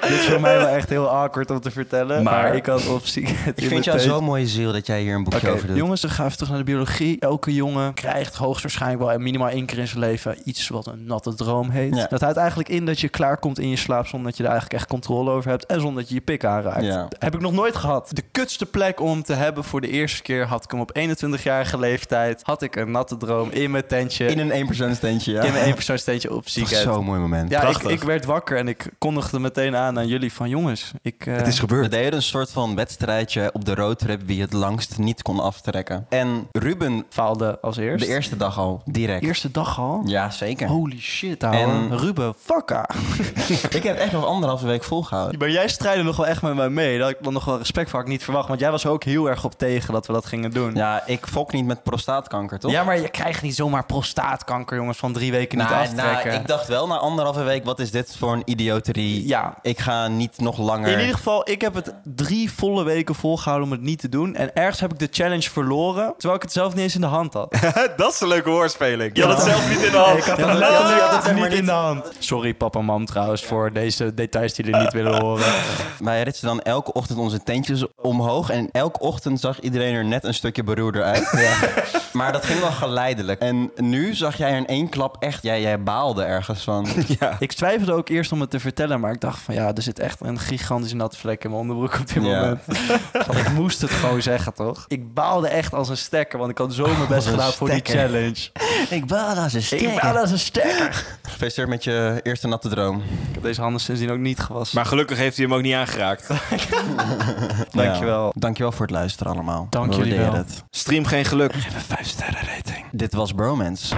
Speaker 2: Dit is voor mij wel echt heel awkward om te vertellen. Maar,
Speaker 4: maar
Speaker 2: ik had op ziek.
Speaker 1: Ik vind jou zo'n mooie ziel dat jij hier een boekje
Speaker 2: Oké,
Speaker 1: over doet.
Speaker 2: jongens, dan gaan we even terug naar de biologie. Elke jongen krijgt hoogstwaarschijnlijk wel minimaal één keer in zijn leven iets wat een natte droom heet.
Speaker 1: Ja.
Speaker 2: Dat houdt eigenlijk in dat je klaarkomt in je slaap zonder dat je er eigenlijk echt controle over hebt en zonder dat je je pik aanraakt.
Speaker 1: Ja.
Speaker 2: Heb ik nog nooit gehad. De kutste plek om te hebben voor de eerste keer had ik hem op 21-jarige leeftijd. Had ik een natte droom in mijn tentje.
Speaker 1: In een eenpersoonsteentje, ja.
Speaker 2: in mijn eenpersoonsteentje op
Speaker 1: Dat was
Speaker 2: ziekenhuis.
Speaker 1: Zo'n mooi moment.
Speaker 2: Ja, ik,
Speaker 4: Prachtig.
Speaker 2: ik werd wakker en ik kondigde meteen aan aan jullie van jongens, ik... eh,
Speaker 4: Het is
Speaker 1: We
Speaker 4: gebeurd.
Speaker 1: deden een soort van wedstrijdje op de roadtrip wie het langst niet kon aftrekken. En Ruben
Speaker 2: faalde als eerst.
Speaker 1: de eerste dag al, direct.
Speaker 2: Eerste dag al?
Speaker 1: Ja, zeker.
Speaker 2: Holy shit, ouwe.
Speaker 1: En-
Speaker 2: Ruben, fucka.
Speaker 1: Ik heb echt nog anderhalve week volgehouden.
Speaker 2: Maar jij strijdde nog wel echt met mij mee. Dat had ik dan nog wel respect voor had ik niet verwacht. Want jij was er ook heel erg op tegen dat we dat gingen doen.
Speaker 1: Ja, ik fok niet met prostaatkanker, toch?
Speaker 2: Ja, maar je krijgt niet zomaar prostaatkanker, jongens, van drie weken niet
Speaker 1: Nou,
Speaker 2: aftrekken.
Speaker 1: nou, ik dacht wel na anderhalve week, wat is dit voor een idioterie?
Speaker 2: Ja.
Speaker 1: Ik ga niet nog langer...
Speaker 2: In ieder geval, ik heb het drie volle weken volgehouden om het niet te doen. En ergens heb ik de challenge verloren, terwijl ik het zelf niet eens in de hand had.
Speaker 4: dat is een leuke woordspeling.
Speaker 2: had het zelf niet in de hand. Ik had het letterlijk
Speaker 1: ja, dat zeg maar
Speaker 2: niet in de hand. Sorry papa en mam trouwens voor deze details die jullie niet willen horen.
Speaker 1: Wij ritsen dan elke ochtend onze tentjes omhoog. En elke ochtend zag iedereen er net een stukje beroerder uit. Maar dat ging wel geleidelijk. En nu zag jij in één klap echt... Jij, jij baalde ergens van...
Speaker 2: Ik twijfelde ook eerst om het te vertellen, maar ik dacht van ja, er zit echt een gigantische natte vlek in mijn onderbroek op dit
Speaker 1: Ja.
Speaker 2: moment. Want ik moest het gewoon zeggen, toch? Ik baalde echt als een stekker, want ik had zo mijn best
Speaker 1: een
Speaker 2: gedaan voor die
Speaker 1: stekker.
Speaker 2: challenge.
Speaker 1: Ik baalde als een
Speaker 2: Ik baalde als een stekker.
Speaker 1: Gefeliciteerd met je eerste natte droom.
Speaker 2: Ik heb deze handen sindsdien ook niet gewassen.
Speaker 4: Maar gelukkig heeft hij hem ook niet aangeraakt.
Speaker 2: Dankjewel.
Speaker 1: Ja. Dankjewel voor het luisteren allemaal.
Speaker 2: Dank
Speaker 1: We
Speaker 2: jullie
Speaker 1: waarderen
Speaker 2: wel.
Speaker 1: het.
Speaker 4: Stream geen geluk.
Speaker 1: Een 5 sterren rating. Dit was Bromance.